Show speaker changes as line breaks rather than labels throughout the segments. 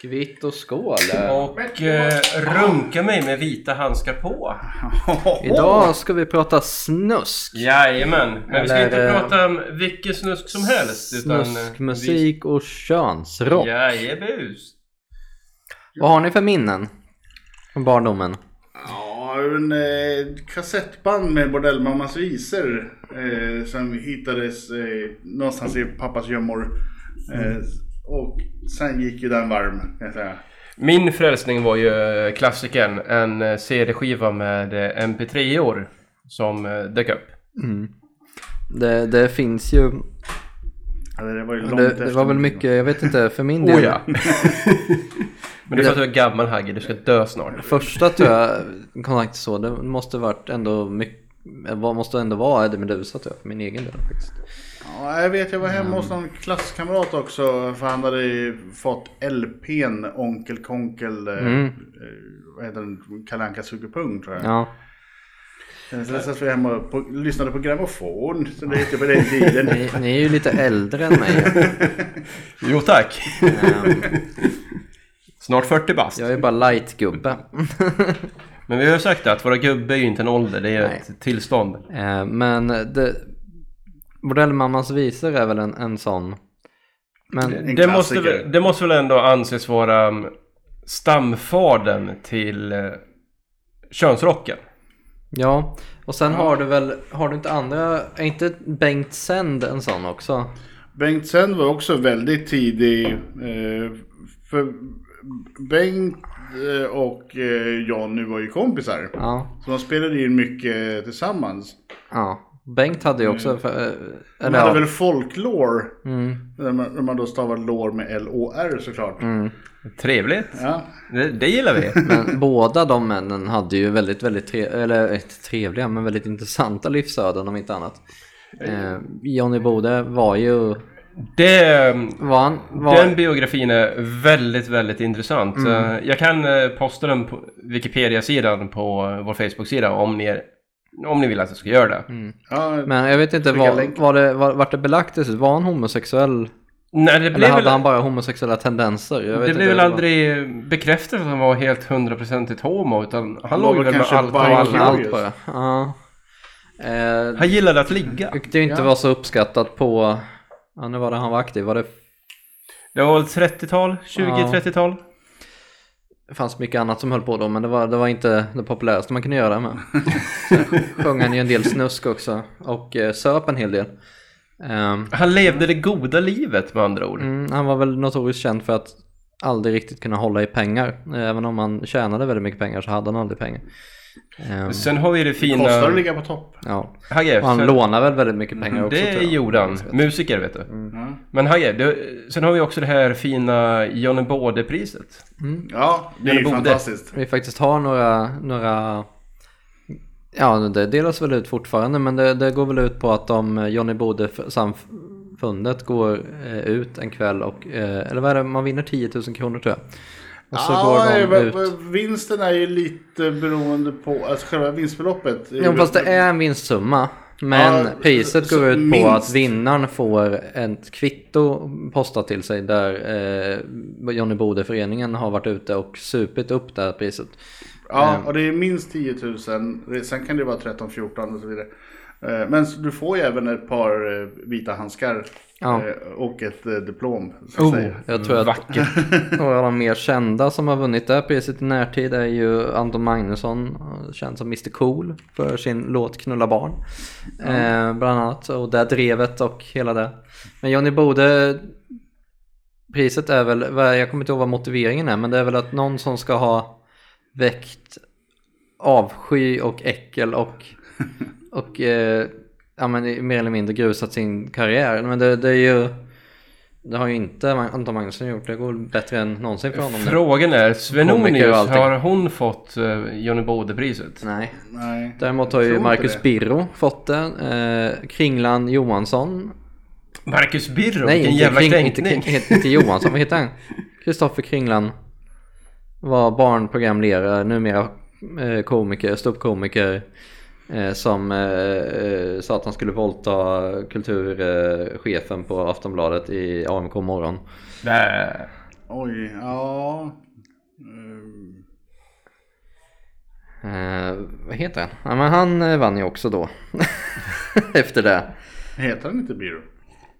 Skvitt och skål.
Och eh, runka mig med vita handskar på.
Idag ska vi prata snusk.
Jajamän, men vi ska
Eller,
inte
eh,
prata om vilken snusk som helst. Utan eh,
Snuskmusik och könsrock.
Jajebus.
Vad har ni för minnen? Från barndomen?
Ja, en eh, kassettband med bordellmammas visor eh, som hittades eh, någonstans i pappas gömmor. Eh,
Mm.
och sen gick ju den varm kan jag säga.
Min frälsning var ju eh, klassikern, en eh, CD-skiva med eh, MP3-or som eh, dök upp.
Det, det finns ju...
Eller Alltså, det var ju långt
Det, det
efter
var väl
min-
mycket, jag vet inte, för min del.
Oh ja! Men du sa att du är gammal Hagge, du ska dö snart.
Första tror jag kontakt så, det måste varit ändå mycket... Vad måste ändå vara Eddie Meduza tror jag, för min egen del faktiskt.
Ja, jag vet, jag var hemma hos
Mm.
någon klasskamrat också för han hade ju fått LPn Onkel Konkel, eh,
Mm.
eh, vad heter den, Kalle Anka suger pung tror jag.
Ja.
Sen så satt vi hemma och på, lyssnade på grammofon, så det hette på den tiden.
Ni, ni är ju lite äldre än mig.
Jo tack!
Ehm,
Snart 40 bast.
Jag är bara light-gubbe.
Men vi har ju sagt det, att vara gubbe är ju inte en ålder, det är ju
Nej.
ett tillstånd.
Eh, Men det, Bordellmammans visor är väl en, en sån. Men
En
Det måste,
klassiker.
väl- det måste väl ändå anses vara mm, stamfadern till eh, könsrocken?
ja, och sen har du väl, har du inte andra, är inte Bengt Sänd en sån också?
Bengt Sen var också väldigt tidig. Eh, för Bengt eh, och eh, Jonny var ju kompisar.
Ja,
Så de spelade in mycket tillsammans.
ja. Bengt hade ju också, för, eh,
De
eller
hade
ja,
väl folklore.
mm,
När man, när man då stavar lår med L-O-R såklart.
mm.
Trevligt!
Ja.
Det, det gillar vi!
Men båda de männen hade ju väldigt, väldigt tre, eller, eh, inte trevliga, men väldigt intressanta livsöden om inte annat. Eh, Johnny Bode var ju,
Det, mm,
var han, var,
den biografin är väldigt, väldigt intressant.
Mm.
Eh, Jag kan eh, posta den på Wikipedia-sidan på eh, vår Facebook-sida om ni, om ni vill att jag ska göra det.
Mm.
Ja,
Men jag vet inte,
Skicka
var,
länk.
var det, var, vart det belagt det Var han homosexuell?
Nej, det
Eller
blev
hade
väl,
han bara homosexuella tendenser? Jag vet
det
inte,
blev väl
var-
aldrig bekräftat att han var helt hundraprocentigt homo, utan han
Han
låg
var
väl med
kanske
allt och
bi-
Allt,
alla.
allt bara. Ja. Eh,
Han gillade att ligga.
vilket ju inte
Ja.
var så uppskattat på... Ja, nu var det han var aktiv. Var det
Det var väl 30-tal?
Ja.
20-30-tal?
det fanns mycket annat som höll på då, men det var, det var inte det populäraste man kunde göra med. Sen sjöng han ju en del snusk också och eh, söp en hel del. Ehm,
Han levde det goda livet med andra ord.
Mm, han var väl notoriskt känd för att aldrig riktigt kunna hålla i pengar. Även om han tjänade väldigt mycket pengar så hade han aldrig pengar. Ehm,
Sen har vi det fina...
kostar att ligga på topp.
ja.
Hagge,
Och han
sen-
lånade väl väldigt mycket pengar också.
Mm, det
tror jag. Mm.
gjorde han. Musiker vet du.
Ja.
Men Hagge, du, sen har vi också det här fina Johnny Baude-priset.
ja, det är ju
Eller borde.
fantastiskt.
Vi faktiskt har några, några... Ja, det delas väl ut fortfarande men det, det går väl ut på att de, eh, Johnny Bode f- samfundet går eh, ut en kväll och, eh, eller vad är det, man vinner 10 000 kronor tror jag. Och så går de
eh, v-
ut.
v- vinsten är ju lite beroende på, alltså själva vinstbeloppet.
Ja, fast det är en vinstsumma. Men
Ja,
priset
så-
går ut på
minst.
att vinnaren får ett kvitto postat till sig där eh, Johnny Bode-föreningen har varit ute och supit upp det här priset. Ehm.
Ja, och det är minst 10 000. Sen kan det vara 13 14 och så vidare. Eh, Men så du får ju även ett par eh, vita handskar
Ja.
eh, och ett eh, diplom. Så att
Oh,
säga.
jag tror att
Vackert.
några av de mer kända som har vunnit det här priset i närtid är ju Anton Magnusson, känd som Mr Cool för sin låt Knulla barn. Eh, bland annat, och det drevet och hela det. Men Johnny Bode, priset är väl, vad- jag kommer inte ihåg vad motiveringen är, men det är väl att någon som ska ha väckt avsky och äckel och, och eh, ja, men, mer eller mindre grusat sin karriär. Men det, det är ju... Det har ju inte Anton Magnusson gjort. Det går bättre än någonsin för honom nu.
Frågan är,
Komiker och
Svenonius,
allting.
har hon fått eh, Johnny Baude-priset?
Nej.
Nej,
Däremot har
jag
ju
tror inte
Marcus
det.
Birro fått det. Eh, Kringlan Johansson.
Marcus Birro,
Nej,
vilken
inte,
jävla
Kring, inte,
kränkning!
Kring- inte, inte Johansson. Vad heter han? Kristoffer Kringlan. Var barnprogramledare, numera eh, komiker, ståuppkomiker. Eh, som eh, eh, sa att han skulle våldta kulturchefen eh, chefen på Aftonbladet i AMK morgon.
Nä.
Oj, ja. Ehm,
Eh, vad heter han? Ja, men han eh, vann ju också då. Efter det.
heter han inte Biro?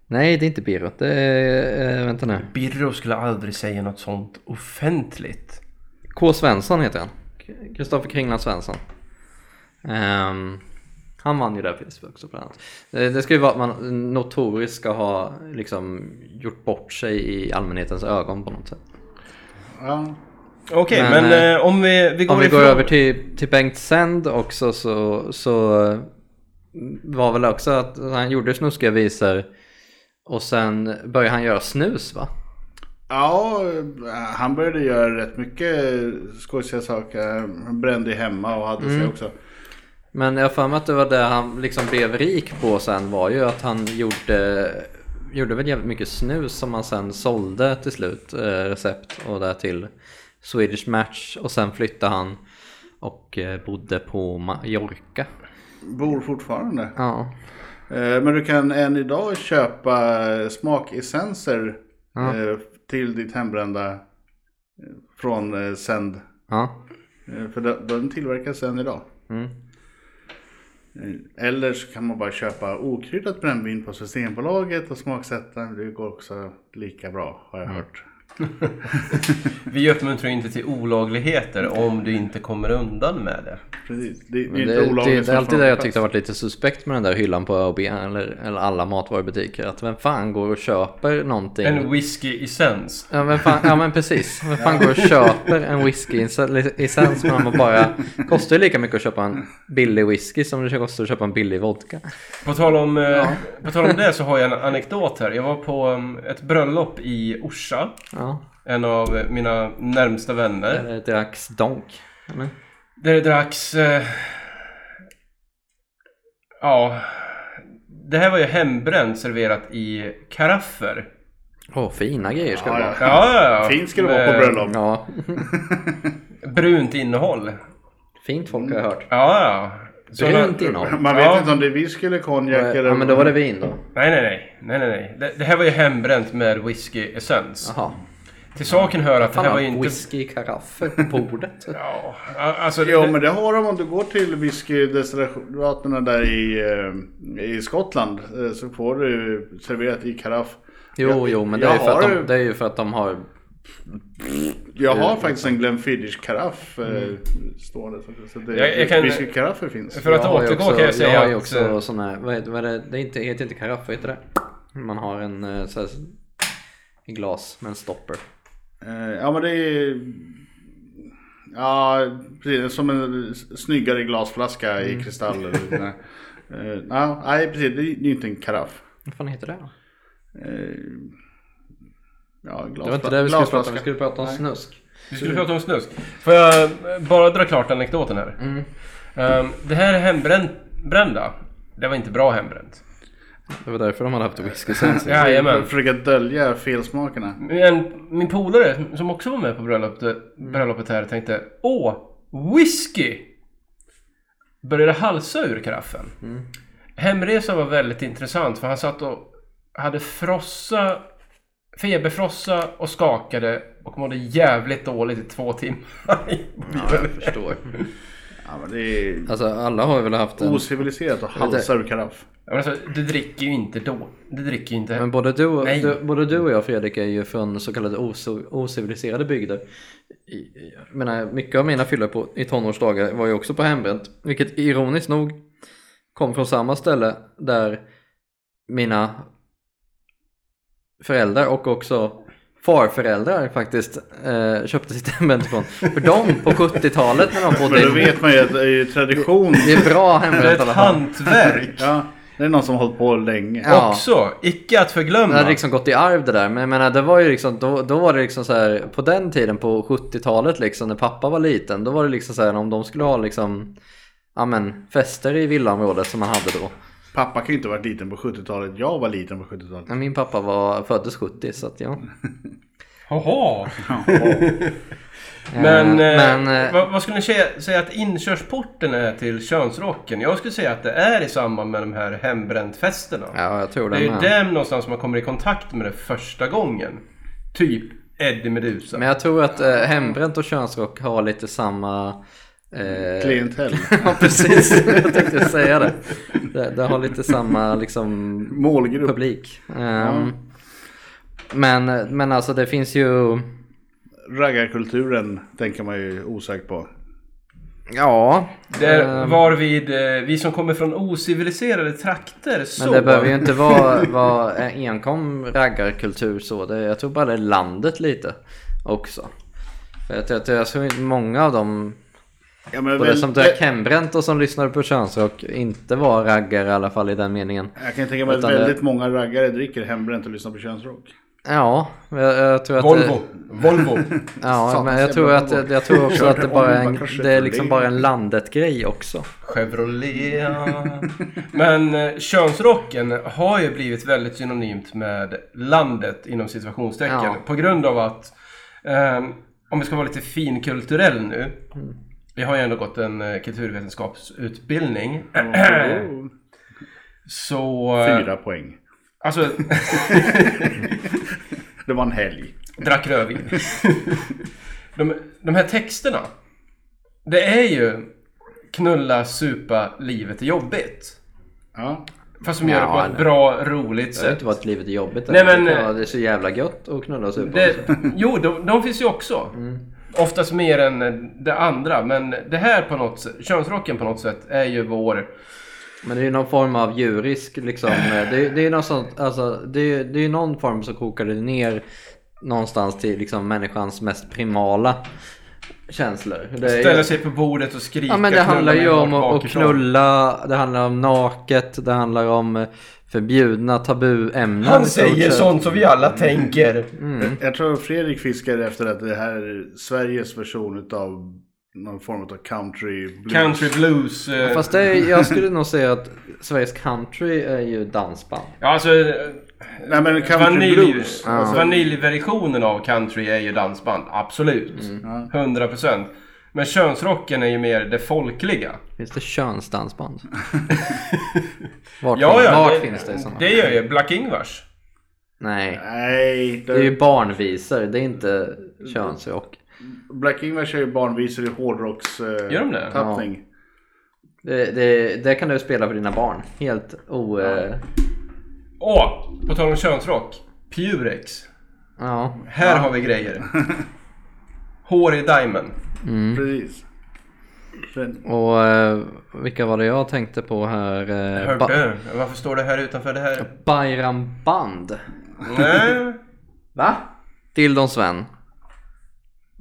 Nej, det är inte Birro. Det är, eh, vänta nu.
Birro skulle aldrig säga något sånt offentligt.
K. Svensson heter han. K- Kristoffer Kringland Svensson. Ehm, han vann ju det här priset också bland annat. Eh, Det ska ju vara att man notoriskt ska ha liksom gjort bort sig i allmänhetens ögon på något sätt.
Ja.
Okej, men,
Men, eh,
eh, om vi, vi går,
Om vi går
ifrån-
över till, till Bengt Sänd också så, så eh, var väl också att han gjorde snuskiga visor och sen började han göra snus va?
Ja, eh, han började göra rätt mycket skojsiga saker. Han brände hemma och hade
Mm.
sig också.
Men jag har för mig att det var det han liksom blev rik på sen var ju att han gjorde, gjorde väl jävligt mycket snus som han sen sålde till slut, eh, recept och där till Swedish Match och sen flyttade han och eh, bodde på Mallorca.
Bor fortfarande.
Ja,
Eh, Men du kan än idag köpa smakessenser
Ja.
eh, till ditt hembrända eh, från eh, Send.
ja.
Eh, För de- de tillverkas än idag.
Mm.
Eh, Eller så kan man bara köpa okryddat brännvin på Systembolaget och smaksätta. Det går också lika bra har jag hört.
vi uppmuntrar inte till olagligheter om du inte kommer undan med det.
Precis. Det, det
Men
är
det,
inte
det,
olagligt.
det är
som
alltid det jag
smakpass.
tyckte har varit lite suspekt med den där hyllan på ÖoB eller, eller alla matvarubutiker. Att vem fan går och köper någonting?
En whisky i sens.
Ja men, fan, ja men precis. Vem fan går och köper en whisky-licens när man bara... Kostar ju lika mycket att köpa en billig whisky som det kostar att köpa en billig vodka.
På tal, om, eh, på tal om det så har jag en anekdot här. Jag var på um, ett bröllop i Orsa.
Ja.
En av eh, mina närmsta vänner.
Eller dracks donk. Eller?
Där det dracks... Eh, ja... Det här var ju hembränt serverat i karaffer.
Åh, fina grejer ska det
Ja,
vara.
Ja, ja, ja.
Fint ska det vara på
Med
bröllop.
Ja.
Brunt innehåll.
Fint folk har jag hört.
Ja, ja. Såna-
Brunt innehåll. Eh,
Man vet
Ja.
inte om det är whisky eller konjak eller...
Ja men då var det vin då.
Nej, nej, nej. nej, nej, nej. Det, det här var ju hembränt med whiskyessens.
Jaha.
Till saken hör att det
Fan,
här var ju
har
inte...
whisky-karaffer på bordet.
Ja, a- alltså...
Jo
det-
men det har de om du går till whiskydestillaterna där i, eh, i Skottland eh, så får du serverat i karaff.
Jo,
Jag-
jo, men det
jag
är, ju för att
har-
de, det är ju för att de har...
Jag har
Eh,
faktiskt en Glenfiddich karaff mm. stående. så- Så det,
Jag- jag kan-
whiskykaraffer finns.
För att
jag har ju
återgå
också-
kan jag säga
Jag har ju
att,
också
eh,
sån här... Vad heter, vad är det? det är inte, heter inte karaff, vad heter det? Man har en eh, så här, en glas med en stopper.
Eh, Ja men det är... Ja precis, som en snyggare glasflaska
Mm.
i kristall. eller- Nej. Eh, ja, Nej precis, det är det är inte en karaff.
Vad fan heter det då?
Eh, Ja, glasfla-
Det var inte det vi skulle prata om.
glasflaska.
Vi skulle prata om
Nej.
snusk.
Vi skulle prata om snus. Får jag eh, bara dra klart anekdoten här?
Mm.
Ehm, det här hembrända, det var inte bra hembränt.
Det var därför de hade haft whisky sen.
För
Jajamän.
att försöka dölja felsmakerna.
Men min polare som också var med på bröllopet, bröllopet här tänkte Åh, whisky! Började halsa ur karaffen. Hemresan var väldigt intressant för han satt och hade frossa, feberfrossa och skakade och mådde jävligt dåligt i två timmar.
Ja, jag förstår.
Ja, men det är
Alltså alla har ju väl haft en...
ociviliserat att halsa ur karaff.
Ja, men alltså, du dricker ju inte då. Du dricker ju inte
Men både du, och-
Nej.
du, både du och jag Fredrik är ju från så kallade oso- ociviliserade bygder. I- i- Jag menar, mycket av mina fyllor på- i tonårsdagar var ju också på hembränt. Vilket ironiskt nog kom från samma ställe där mina föräldrar och också farföräldrar faktiskt eh, köpte sitt hembränt ifrån. För de på 70-talet när de
Men då
bodde i...
vet man ju att det är ju tradition.
Det är bra
Det är
hembränt i
ett
alla fall.
hantverk
Ja, det är någon som har hållit på länge.
Ja.
också. Icke att
Det
förglömma.
hade liksom gått i arv det där. Men jag menar, det var ju liksom, då, då var det liksom så här, på den tiden på 70-talet liksom, när pappa var liten, då var det liksom så här om de skulle ha liksom, ja men fester i villaområdet som man hade då.
Pappa kan ju inte ha varit liten på 70-talet. Jag var liten på 70-talet.
Men Min pappa var, föddes 70 så att ja.
Jaha.
Eh,
Men, eh,
men, eh,
vad, vad skulle ni säga, säga att inkörsporten är till könsrocken? Jag skulle säga att det är i samband med de här hembräntfesterna.
Ja, jag tror
det
det
är ju
med.
där någonstans man kommer i kontakt med det första gången. Typ Eddie Meduza.
Men jag tror att eh, hembränt och könsrock har lite samma... Eh,
Klientell.
ja, precis. Jag tänkte säga det. det. Det har lite samma liksom
Målgrupp.
publik. Ehm, men, men alltså det finns ju...
Raggarkulturen tänker man ju osökt på.
Ja.
Det är
ehm,
varvid eh, vi som kommer från ociviliserade trakter så...
men det behöver ju inte vara, vara en- enkom raggarkultur så. Det, jag tror bara det är landet lite också. För att jag, jag tror inte många av dem,
Ja, men
både
väl-
som drack hembränt och som lyssnade på könsrock, inte var raggare i alla fall i den meningen.
Jag kan tänka mig att
Utan det-
väldigt många raggare dricker hembränt och lyssnar på könsrock.
Ja, jag, jag tror att...
Volvo. Volvo.
Ja,
Satans
men jag
jävla
tror, att,
Volvo.
jag tror också att det
Körde
bara
om
är en,
bara kanske
det är
för
liksom
länge.
bara en landet-grej också.
Chevrolet. ja. Men eh, könsrocken har ju blivit väldigt synonymt med landet inom situationstecken.
Ja.
På grund av att, eh, om vi ska vara lite finkulturell nu.
Mm.
Vi har ju ändå gått en eh, kulturvetenskapsutbildning.
Mm.
Så... eh,
Fyra poäng.
Alltså,
Det var en helg.
drack rödvin. de, de här texterna. Det är ju knulla, supa, livet är jobbigt.
Ja.
Fast som gör det på
Ja,
ett
nej.
bra, roligt
Det har
sätt.
inte varit livet är jobbigt. alltså.
Nej, men- eh,
det, kan vara- det är så jävla gött att knulla och liksom- supa.
Det, jo, de, de finns ju också. Oftast mer än eh, det andra. Men det här på något sätt, könsrocken på något sätt, är ju vår...
Men det är ju någon form av djurisk liksom. eh, Det, det är ju något sånt, alltså, det, är- det är ju någon form som kokar det ner någonstans till liksom, människans mest primala känslor. Det är ju-
Ställa sig på bordet och skrika.
Ja men det
knulla
handlar ju
mig
om
bak-
att att
bakifrån.
knulla, det handlar om naket, det handlar om eh, förbjudna tabuämnen. i
Han
stort
säger
sett.
sånt som vi alla tänker.
Mm.
Jag tror Fredrik fiskar efter att det här är Sveriges version utav någon form av country blues.
Country blues. eh,
Fast det är, jag skulle nog säga att Sveriges country är ju dansband.
Ja, alltså... eh,
Nej men country
Vanilj,
blues.
alltså, Vaniljversionen av country är ju dansband, absolut.
Mm.
100%. Men könsrocken är ju mer det folkliga.
Finns det könsdansband? Vart,
Ja, ja,
vart
det-
finns det i sådana?
Det gör ju Black-Ingvars.
Nej,
Nej,
det är ju
det...
barnvisor, det är inte könsrock.
Black Ingvar kör ju barnvisor i hårdrocks eh,
Gör de det?
tappning.
Det, det, det kan du spela för dina barn. Helt o... eh,
Åh, på tal om könsrock. Purex.
Ja.
Här har vi grejer. Hår i Diamond.
Mm.
Precis. Sen-
Och eh, vilka var det jag tänkte på här? Eh,
Hörde
ba-
du? Varför står det här utanför det här?
Bayram Band.
Nej.
Va? Dildon Sven.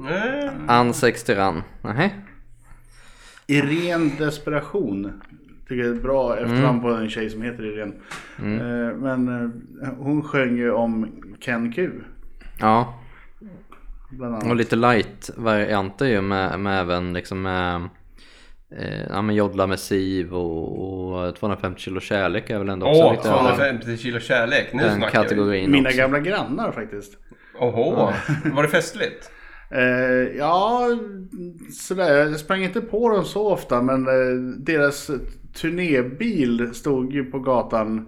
Nej.
Ansex Tyrann. Nähä.
I ren desperation. Tycker jag är ett bra
Mm.
efternamn på en tjej som heter Irene. Eh, Men eh, hon sjöng ju om Ken Q.
Ja.
Bland annat.
Och lite light-varianter ju med, med även liksom med, eh, ja men joddla med siv och, och 250 kilo kärlek är väl ändå också
Åh,
lite av
250 kilo kärlek. Nu
den
snackar vi.
kategorin
Mina
också.
gamla grannar faktiskt.
Åhå, var det festligt?
Eh, ja, sådär. Jag sprang inte på dem så ofta men eh, deras turnébil stod ju på gatan.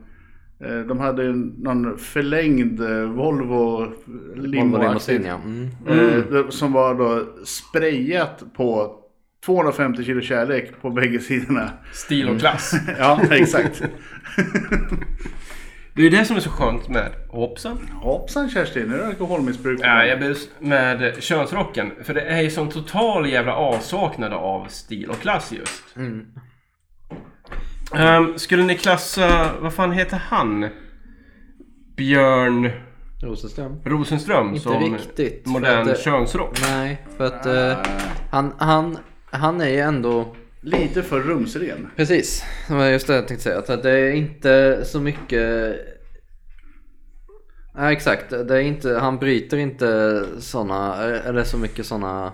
Eh, de hade ju någon förlängd eh, Volvo
Volvo
limo
limousin ja. Mm.
eh, Som var då sprayat på 250 kilo kärlek på bägge sidorna.
Stil
Mm.
och klass.
Ja, exakt.
Det är ju det som är så skönt med hoppsan.
Hoppsan Kerstin, nu är det alkoholmissbruk.
Ja, jag bus med könsrocken. För det är ju som total jävla avsaknad av stil och klass just.
Mm.
Ehm, skulle ni klassa, vad fan heter han? Björn
Rosenström.
Rosenström
Inte
som
riktigt, för
modern
att det-
könsrock?
Nej, för att eh, han, han, han är ju ändå
Lite för rumsren.
Precis, det var just det jag tänkte säga. Så att det är inte så mycket... Nej exakt, det är inte, han bryter inte såna, eller så mycket såna... många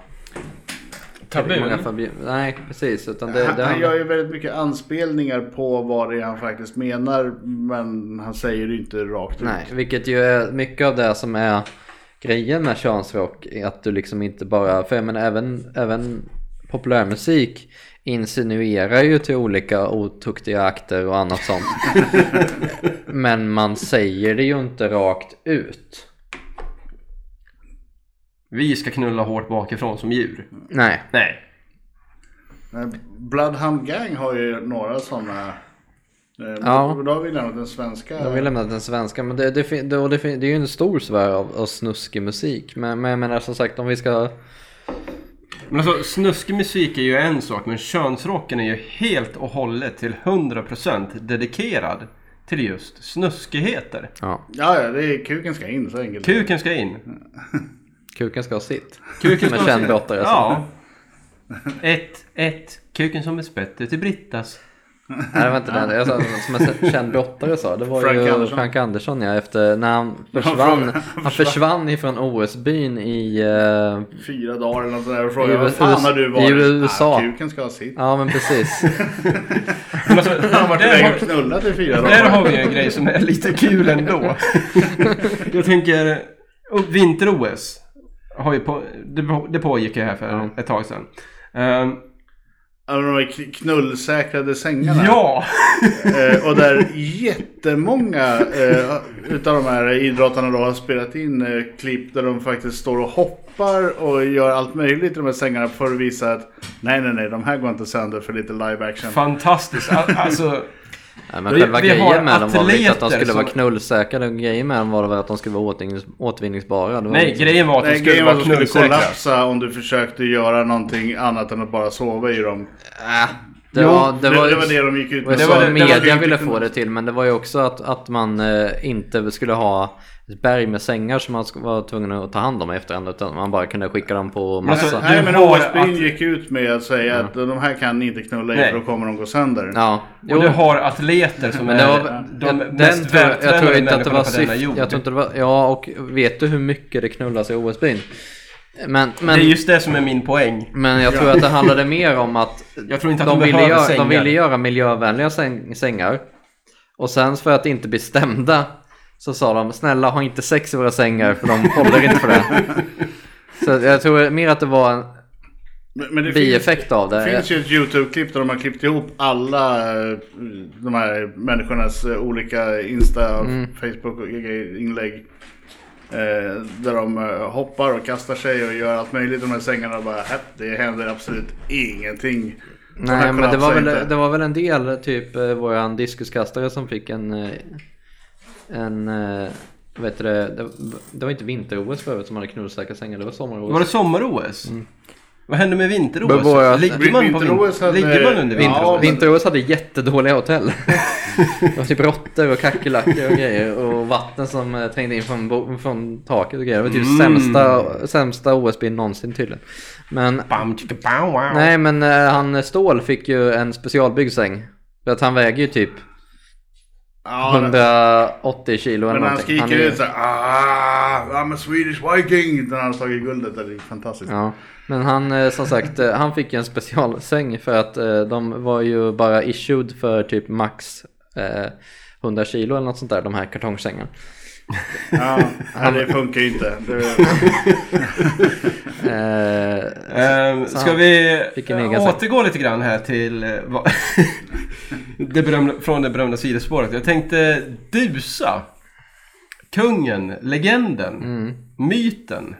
Tabun?
förbjud- Nej precis, utan det,
Han,
det
han
handlar-
gör ju väldigt mycket anspelningar på vad det är han faktiskt menar men han säger det ju inte rakt
Nej,
ut.
vilket ju är mycket av det som är grejen med könsrock. är Att du liksom inte bara, för jag menar även, även populärmusik insinuerar ju till olika otuktiga akter och annat sånt. Men man säger det ju inte rakt ut.
Vi ska knulla hårt bakifrån som djur.
Nej.
Nej.
Nej, Bloodhound Gang har ju några sådana.
Ja.
Ja. Då har vi lämnat den svenska.
De vill lämna den svenska, men det, det, fin- det, och det, fin- det är ju en stor sfär av, av snuskig musik. Men, men jag menar som sagt om vi ska...
Men alltså snuskig musik är ju en sak men könsrocken är ju helt och hållet till 100% dedikerad till just snuskigheter.
Ja,
Ja, ja, det är kuken ska in så enkelt.
Kuken ska in.
kuken ska ha sitt.
Kuken
Med
ska in.
kändbrottare, alltså.
Ja. Ett, ett. Kuken som är typ spettet till Brittas.
Nej det var inte den. Jag sa, som en känd brottare sa. Det var
Frank
ju
Andersson.
Frank Andersson ja. Efter när han
Han
försvann.
frågade-
Han försvann ifrån OS-byn i... eh,
Fyra dagar eller något sånt där och
I
frågar vad
US-
fan har du varit?
i USA.
Ah, kuken ska ha sitt.
ja men precis.
Men alltså,
Han har varit
där
iväg
har-
och knullat i fyra
Där
dagar.
har vi ju en grej som är lite kul ändå. Jag tänker, och vinter-OS. Har ju på, det, på- det pågick ju här för
Ja.
ett tag sedan. Ehm,
Alla de här k- knullsäkrade sängarna.
ja!
Eh, och där jättemånga eh, utav de här idrottarna då har spelat in eh, klipp där de faktiskt står och hoppar och gör allt möjligt i de här sängarna för att visa att nej, nej, nej, de här går inte sönder för lite live action.
Fantastiskt. Al- Alltså,
Nej, men
Vi-
själva
vi har
grejen med dem var väl inte att de
atleter
skulle
som-
vara knullsäkra. Grejen med dem var väl att de skulle vara återvinnings- återvinningsbara. Det var
nej,
liksom-
grejen var att de
Nej,
skulle
grejen var att
vara
de skulle
knullsäkra.
kollapsa om du försökte göra någonting annat än att bara sova i dem.
Äh, det,
Jo,
var,
Det,
det var...
det var det de gick ut
Det var
med.
det
var-
som
det var-
media
det-
ville få det till men det var ju också att, att man eh, inte skulle ha ett berg med sängar som man sk- var tvungen att ta hand om i efterhand utan man bara kunde skicka dem på
Men alltså,
massa.
Nej
Du
men
har
OS-byn
att-
gick ut med att säga att de här kan ni inte knulla i
Nej.
för då kommer de gå sönder.
ja.
Och
Jo,
du har atleter som
men
är
det var,
de
jag, den
mest
tror, jag- jag tror
vältränade
inte att det
människorna
var
på denna
syftet.
jord.
Jag tror inte det var, ja och vet du hur mycket det knullas i OS-byn? Men,
Det
men,
är just det som är min poäng.
men jag tror att det handlade mer om att
Jag tror inte att
de,
de,
ville
behöver
göra,
sängar.
de ville göra miljövänliga säng, sängar. Och sen för att inte bli stämda så sa de snälla ha inte sex i våra sängar för de håller inte för det. Så jag tror mer att det var en
Men, men det finns-
bieffekt av det.
Det finns ju ett YouTube-klipp där de har klippt ihop alla eh, de här människornas eh, olika Insta,
Mm.
Facebook och grejer- inlägg. Eh, där de eh, hoppar och kastar sig och gör allt möjligt i de här sängarna och bara "Häpp, det händer absolut ingenting. De här
Nej men det
kollapsar
var,
inte.
väl, det var väl en del, typ eh, våran diskuskastare som fick en... eh, En... eh, Vet du det, det, det var inte vinter-OS förut som hade knullsäkra sängar, det var
Var det
sommar-OS.
sommar-OS? Vad hände med
Men våra-
vinter-OS? Ligger man, på
Vinter-OS
vin-
hade-
ligger man under
Ja,
vinter-OS?
men-
Vinter-OS hade jättedåliga hotell. Det var typ råttor och kackerlackor och grejer och vatten som eh, trängde in från, bo- från taket och grejer. Det var typ
Mm.
sämsta, sämsta OS-bin någonsin tydligen. Men
Bam, chicka, pow, wow.
nej men eh, han Ståhl fick ju en specialbyggd säng. För att han väger ju typ
Ja, men-
180 kilo eller
men han
någonting.
skriker
är ju-
ut såhär ah, I'm a Swedish Viking! När han har tagit guldet, det är fantastiskt.
Ja, men han eh, som sagt, eh, han fick en specialsäng för att eh, de var ju bara issued för typ max eh, 100 kilo eller något sånt där, de här kartongsängarna.
Ja, nej, det funkar ju inte. Det,
Eh,
Ehm,
Så
ska
han
vi
fick en egen
eh,
sak.
återgå lite grann här till eh, vad- det berömda, från det berömda sidospåret. Jag tänkte Dusa. Kungen, legenden,
Mm.
myten,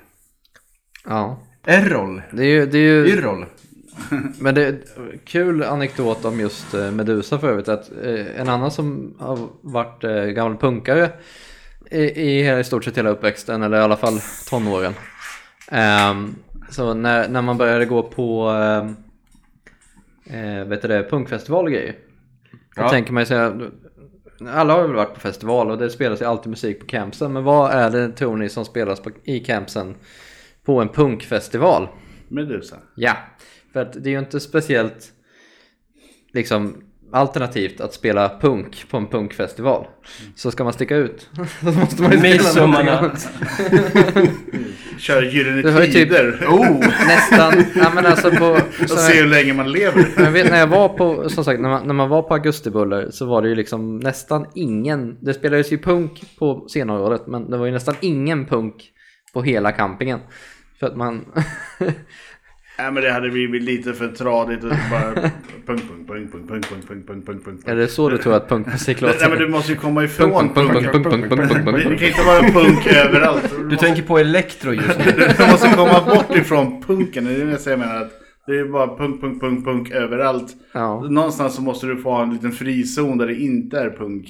ja,
Errol,
det är ju, det är ju
Yrrol.
men det är kul anekdot om just eh, Medusa förut. Att eh, en annan som har varit eh, gammal punkare i, i, i stort sett hela uppväxten, eller i alla fall tonåren. Ehm, så när, när man började gå på ehm, eh, vet du det, punkfestival och grejer. Då
Ja.
tänker man ju så här, alla har väl varit på festival och det spelas ju alltid musik på campsen. Men vad är det tror ni som spelas på, i campsen på en punkfestival?
Medusa.
Ja, för att det är ju inte speciellt liksom alternativt att spela punk på en punkfestival.
Mm.
Så ska man sticka ut så måste man ju spela någonting annat.
Midsommarnatt.
Kör Gyllene
Det var ju typ-
Tider.
Oh!
Nästan, ja men alltså på...
Och se hur länge man lever.
Men jag vet, när jag var på, som sagt, när man, när man var på Augustibuller så var det ju liksom nästan ingen, det spelades ju punk på scenområdet men det var ju nästan ingen punk på hela campingen. För att man,
Nej men det hade blivit lite för tradigt och bara punk, punk, punk, punk, punk, punk, punk, punk, punk, punk.
Är det så du tror att punkmusik
Nej
låter?
nej, men du måste ju komma ifrån
Punk, punk, punk, punk, punk, punk, punk, punk.
Det kan inte vara punk överallt.
Du tänker på elektro just nu.
Du måste komma bort ifrån punken. Det är det jag menar. Att det är bara punk, punk, punk, punk överallt.
Ja,
Någonstans så måste du få ha en liten frizon där det inte är punk.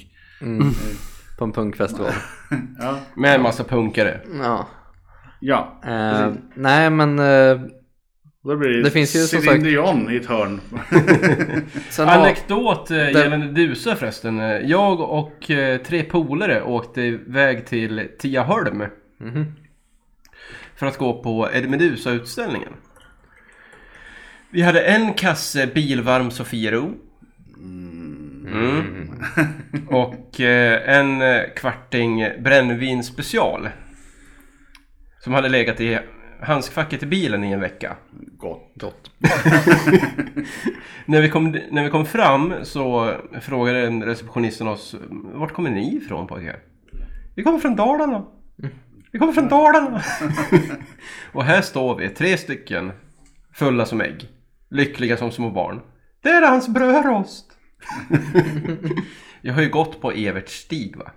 på en punkfestival.
Ja,
Med en massa punkare.
Ja.
ja.
Eh, nej men eh,
Då blir det,
Det finns ju som
Céline
sagt-
Dion i ett hörn.
sen har...
Anekdot eh, gällande Dusö förresten. Eh, Jag och eh, tre polare åkte iväg till Tiaholm.
Mhm.
För att gå på Edmedusa-utställningen. Vi hade en kasse bilvarm Sofiero. Mm. Och eh, en eh, kvarting brännvin special. Som hade legat i handskfacket i bilen i en vecka.
Gott. Gott.
När vi, kom, när vi kom fram så frågade en receptionisten oss Vart kommer ni ifrån pojkar? Vi kommer från Dalarna! Vi kommer från Dalarna! och här står vi, tre stycken Fulla som ägg Lyckliga som små barn Det är hans brödrost! Jag har ju gått på Evert Stig va?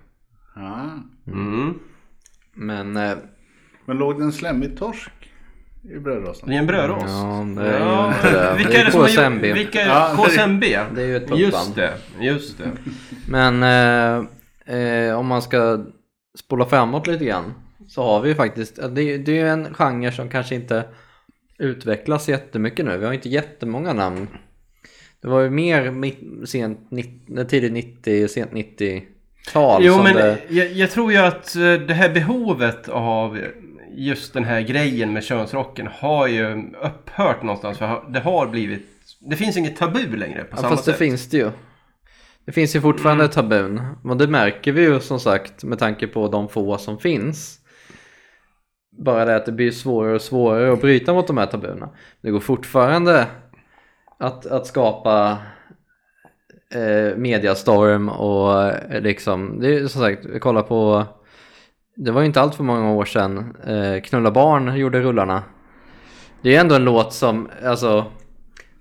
Ja.
Mm.
Men eh,
Men låg det en slemmig torsk i brödrosten?
Det är en brödrost
ja, det är ju inte det.
Vilka
det
är det som har gjort-
KSMB.
Vilka
Ja,
är
det är-
KSMB?
Det är ju ett
Just
popband.
det, just det
Men eh, eh, om man ska spola framåt lite grann så har vi ju faktiskt, eh, det, det är ju en genre som kanske inte utvecklas jättemycket nu. Vi har inte jättemånga namn. Det var ju mer mitt, sent, nitt- tidigt 90, sent 90-tal
Jo
som
men
det...
jag, jag tror ju att eh, det här behovet av just den här grejen med könsrocken har ju upphört någonstans. För ha- det har blivit... Det finns inget tabu längre på
Ja,
samma
fast det
sätt. Mm.
finns det ju. Det finns ju fortfarande tabun. Men det märker vi ju som sagt med tanke på de få som finns. Bara det att det blir svårare och svårare att bryta mot de här tabuna. Det går fortfarande att, att skapa eh, mediastorm och eh, liksom, det är ju som sagt, kolla på, det var ju inte allt för många år sedan, eh, Knulla barn gjorde rullarna. Det är ändå en låt som, alltså,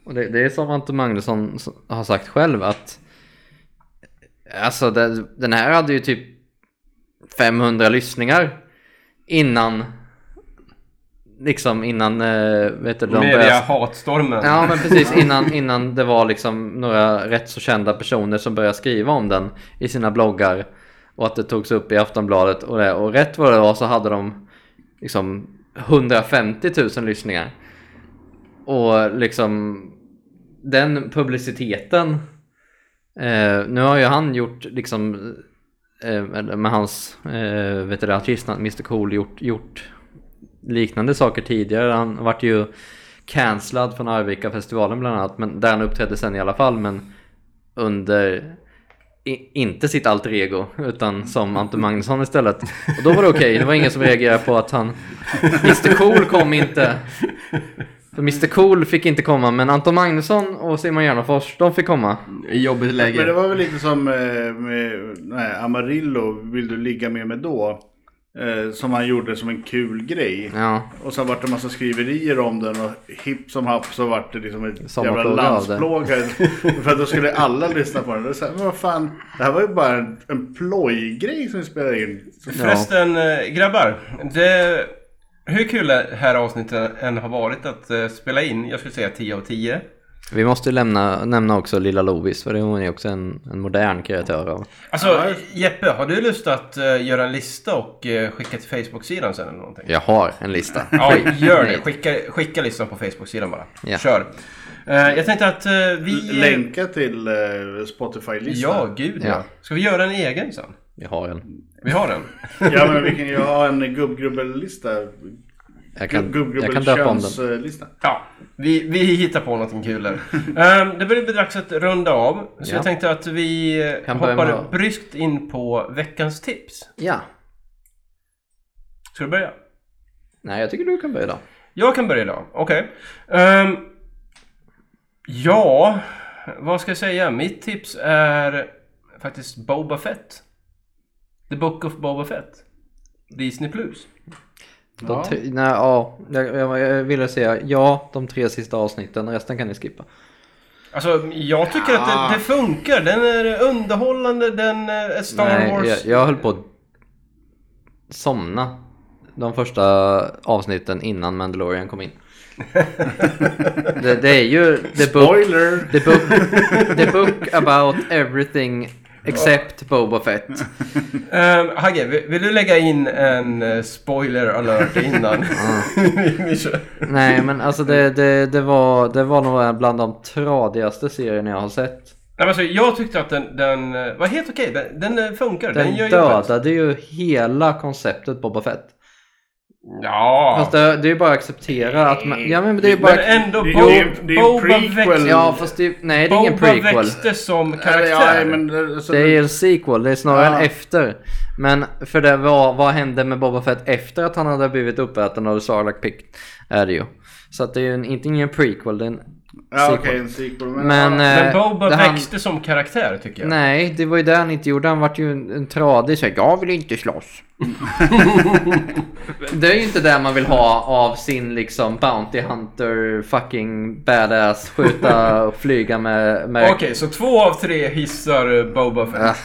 och det, det är som Ante Magnusson s- har sagt själv att Alltså det, den här hade ju typ 500 lyssningar innan liksom innan eh, vet du, de
Media
började-
hatstormen.
Ja men precis innan, innan det var liksom några rätt så kända personer som började skriva om den i sina bloggar och att det togs upp i Aftonbladet och det och rätt vad det var så hade de liksom 150 000 lyssningar. Och liksom den publiciteten eh, nu har ju han gjort liksom eh, eller med hans eh, vet du, det, artistnamn Mr Cool gjort, gjort liknande saker tidigare. Han vart ju cancellad från Arvika-festivalen bland annat, men där han uppträdde sen i alla fall, men under i, inte sitt alter ego, utan som Ante Magnusson istället. Och då var det okej, det var ingen som reagerade på att han... Mr Cool kom inte. För Mr Cool fick inte komma, men Anton Magnusson och Simon Gärdenfors, de fick komma.
I jobbigt läge.
Men det var väl lite som eh, med, nej, Amarillo vill du ligga med mig då? Eh, som han gjorde som en kul grej.
Ja,
Och sen vart det en massa skriverier om den och hipp som happ så vart det liksom ett jävla
Sommarplåga av det.
landsplåga. För att då skulle alla lyssna på den. Det är så här, men vad fan, det här var ju bara en, en plojgrej som vi spelade in. Så,
Förresten eh, grabbar. Det, hur kul det här avsnittet än har varit att eh, spela in. Jag skulle säga 10 av 10.
vi måste ju lämna, nämna också Lilla Lovis, för det är hon är också en, en modern kreatör av.
Alltså
Ja.
Jeppe, har du lust att eh, göra en lista och eh, skicka till Facebook-sidan sen eller någonting?
Jag har en lista.
Ja, gör det.
Nej.
Skicka, skicka listan på Facebook-sidan bara.
Ja.
Kör. Eh, jag tänkte att eh, vi...
Länka till eh, Spotify-listan.
Ja, gud ja.
Ja.
Ska vi göra en egen sen?
Jag har en.
Vi har den.
Ja men vi kan ju ha en gubbgrubbellista.
Jag kan, jag kan döpa om den.
Gubbgrubbelkönslista.
Ja, vi, vi hittar på någonting kul där. Eh, det börjar bli dags att runda av. Så
Ja.
jag tänkte att vi eh,
Kan börja
hoppar
med-
bryskt in på veckans tips.
Ja.
Ska du börja?
Nej, jag tycker du kan börja då.
Jag kan börja idag, okej. Ehm, ja, vad ska jag säga? Mitt tips är faktiskt Boba Fett. The Book of Boba Fett. Disney Plus.
De
Ja.
tre, nej, ja, jag, jag, jag ville säga ja, de tre sista avsnitten, resten kan ni skippa.
Alltså jag tycker att det, det funkar. Den är underhållande, den är Star Wars.
Nej, jag, jag höll på att somna de första avsnitten innan Mandalorian kom in. det, det är ju the book,
Spoiler!
the, book, the book about everything except Boba Fett.
Ehm, Hagge, vill, vill du lägga in en eh, spoiler alert innan?
Ah.
vi, vi kör.
Nej men alltså det, det, det, var, det var nog bland de tradigaste serierna jag har sett.
Nej, men alltså, jag tyckte att den, den eh, var helt okej. Den, den eh, funkar. Den,
Den alltså.
gör jobbet.
dödade ju hela konceptet Boba Fett.
Ja.
Fast det, det är ju bara att acceptera att man, ja, men det är ju bara,
Men ändå,
Det-
Bo,
det är- det är en
Boba,
prequel.
växte,
Ja fast det, nej det är ingen
Boba
prequel.
växte som
Eller,
karaktär.
ja, men, alltså,
Det är en sequel, det är snarare
Ja.
en efter. Men för det var, vad hände med Boba Fett efter att han hade blivit uppäten av Sarlacc Pick? Är det ju. Så att det är ju en, inte ingen prequel, det är en
ja,
sequel.
okej, en sequel. Men,
Men,
ja,
Men
eh,
Boba
det han-
växte som karaktär tycker jag.
Nej, det var ju det han inte gjorde. Han vart ju en, en tradig såhär, jag vill inte slåss. det är ju inte det man vill ha av sin liksom Bounty Hunter fucking badass skjuta och flyga med... med...
Okej, så två av tre hissar eh, Boba Fett.
Ah.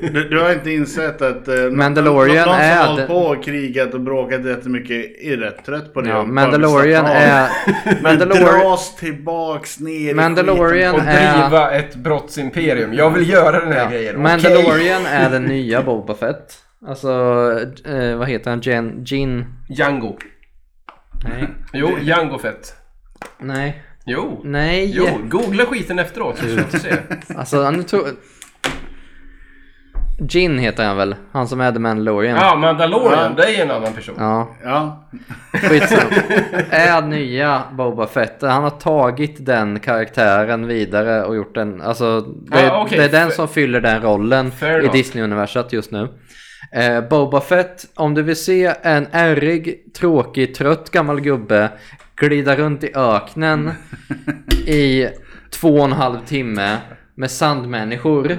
du, du har inte insett att eh, någon-
Mandalorian
någon, någon
är
som hållit
det-
på och krigat och bråkat jättemycket är rätt trött på det.
Ja,
och bara
Mandalorian
vill
är...
slappa av.
Mandalor-
Dras tillbaks ner i
Mandalorian
Och
skiten.
är-
driva ett brottsimperium. Jag vill göra den här
Ja.
grejen. Okej.
Mandalorian är den nya Boba Fett. Alltså, eh, vad heter han? Jen... Jin...
Django.
Nej.
Jo, Django Fett.
Nej.
Jo.
Nej.
Jo, googla skiten efteråt så ska du se.
Alltså, han tror... Jin heter han väl? Han som är The Mandalorian.
Ja, Mandalorian, det är en annan person.
Ja,
Ja,
skitsamma. är nya Boba Fett. Han har tagit den karaktären vidare och gjort den. Alltså, det,
Ah, okej.
det är den
Fair-
som fyller den rollen
Fair
i
enough.
Disney-universat just nu. Eh, Boba Fett, om du vill se en ärrig, tråkig, trött gammal gubbe glida runt i öknen i två och en halv timme med sandmänniskor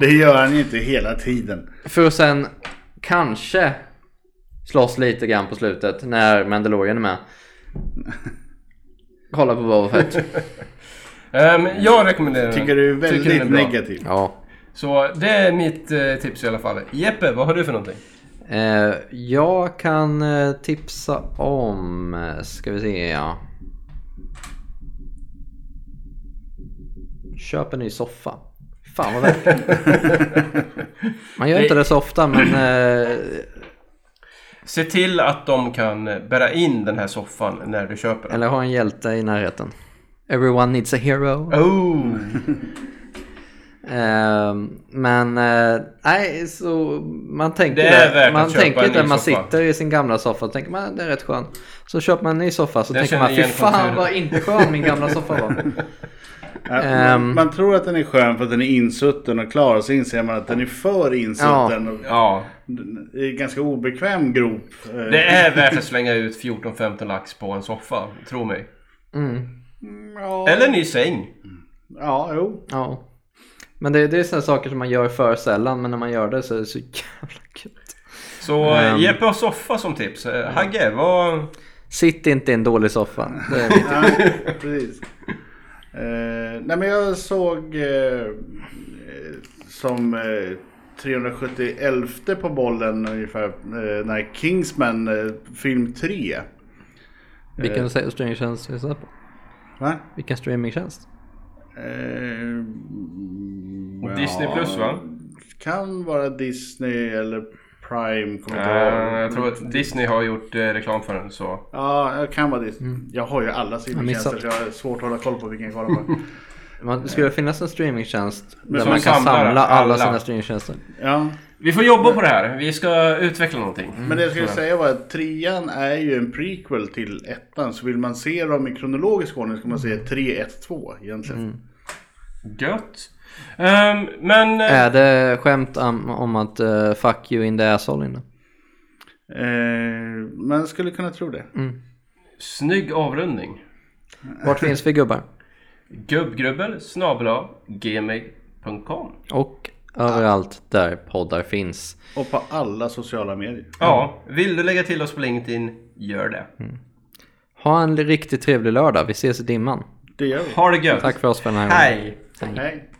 det gör han ju inte hela tiden.
För att sen kanske slåss lite grann på slutet när Mandalorian är med. Kolla på Boba Fett.
Ehm, jag rekommenderar den.
Tycker du är väldigt
Tycker den är bra.
negativ.
Ja.
Så det är mitt eh, tips i alla fall. Jeppe, vad har du för någonting?
Eh, jag kan eh, tipsa om... eh, Ska vi se, ja. Köp en ny soffa. Fan vad värt. Man gör inte det så ofta men... Eh,
Se till att de kan bära in den här soffan när du köper den.
eller ha en hjälte i närheten. Everyone needs a hero.
Oh!
Ehm, men eh, nej, så man tänker
Det är
där-
värt att
man
köpa
tänker
en
där
ny
man
soffa.
sitter i sin gamla soffa och tänker man det är rätt skön. Så köper man en ny soffa så
Jag
tänker
känner
man fy
igen
fan
konturen."
vad inte skön min gamla soffa var.
Ja,
Ehm.
man tror att den är skön för att den är insutten och klar och så inser man att den är för insutten. Och
Ja,
det är en ganska obekväm grop. Eh,
det är värt att slänga ut 14-15 lax på en soffa, tro mig.
Mm,
ja,
Eller en ny säng.
ja, jo.
ja. Men det, det är sådana saker som man gör för sällan men när man gör det så är det så jävla kul.
Så
Ehm.
um, Jeppe har soffa som tips. Eh, Hagge, vad...
Sitt inte i en dålig soffa. Det är mitt.
Ja, precis. Eh, nej men jag såg eh, eh, som eh, 371 på bollen ungefär eh, när Kingsman eh, film 3.
Vilken se- streamingtjänst är det på?
Va?
Vilken streamingtjänst?
Eh, ja,
Disney Plus, va?
Kan vara Disney eller Prime. Kommer
Eh,
inte ihåg.
jag tror att Disney har gjort eh, reklam för den så...
Ja, jag kan vara Disney. Jag har ju alla streamingtjänster
missat.
så Mm. jag har svårt att hålla koll på vilken jag kollar på.
Man, det skulle finnas en streamingtjänst där
som
man kan
samlar
samla alla
alla.
sina streamingtjänster.
ja.
Vi får jobba på det här. Vi ska utveckla någonting.
Mm. Men det jag skulle säga var att trean är ju en prequel till ettan. Så vill man se dem i kronologisk ordning så kan man se 3, 1, 2 egentligen.
Gött. Ehm, men... eh,
Är det skämt om, om att eh, fuck you in the asshole inne?
Eh, man skulle kunna tro det.
Snygg avrundning.
Vart finns vi gubbar?
Gubbgrubbel snabel-a, gmail.com
Och Överallt där poddar finns.
Och på alla sociala medier.
Ja, vill du lägga till oss på LinkedIn, gör det.
Ha en riktigt trevlig lördag. Vi ses i dimman.
Det gör vi.
Ha det gött!
Tack för oss för den här gången.
Hej!
Hej.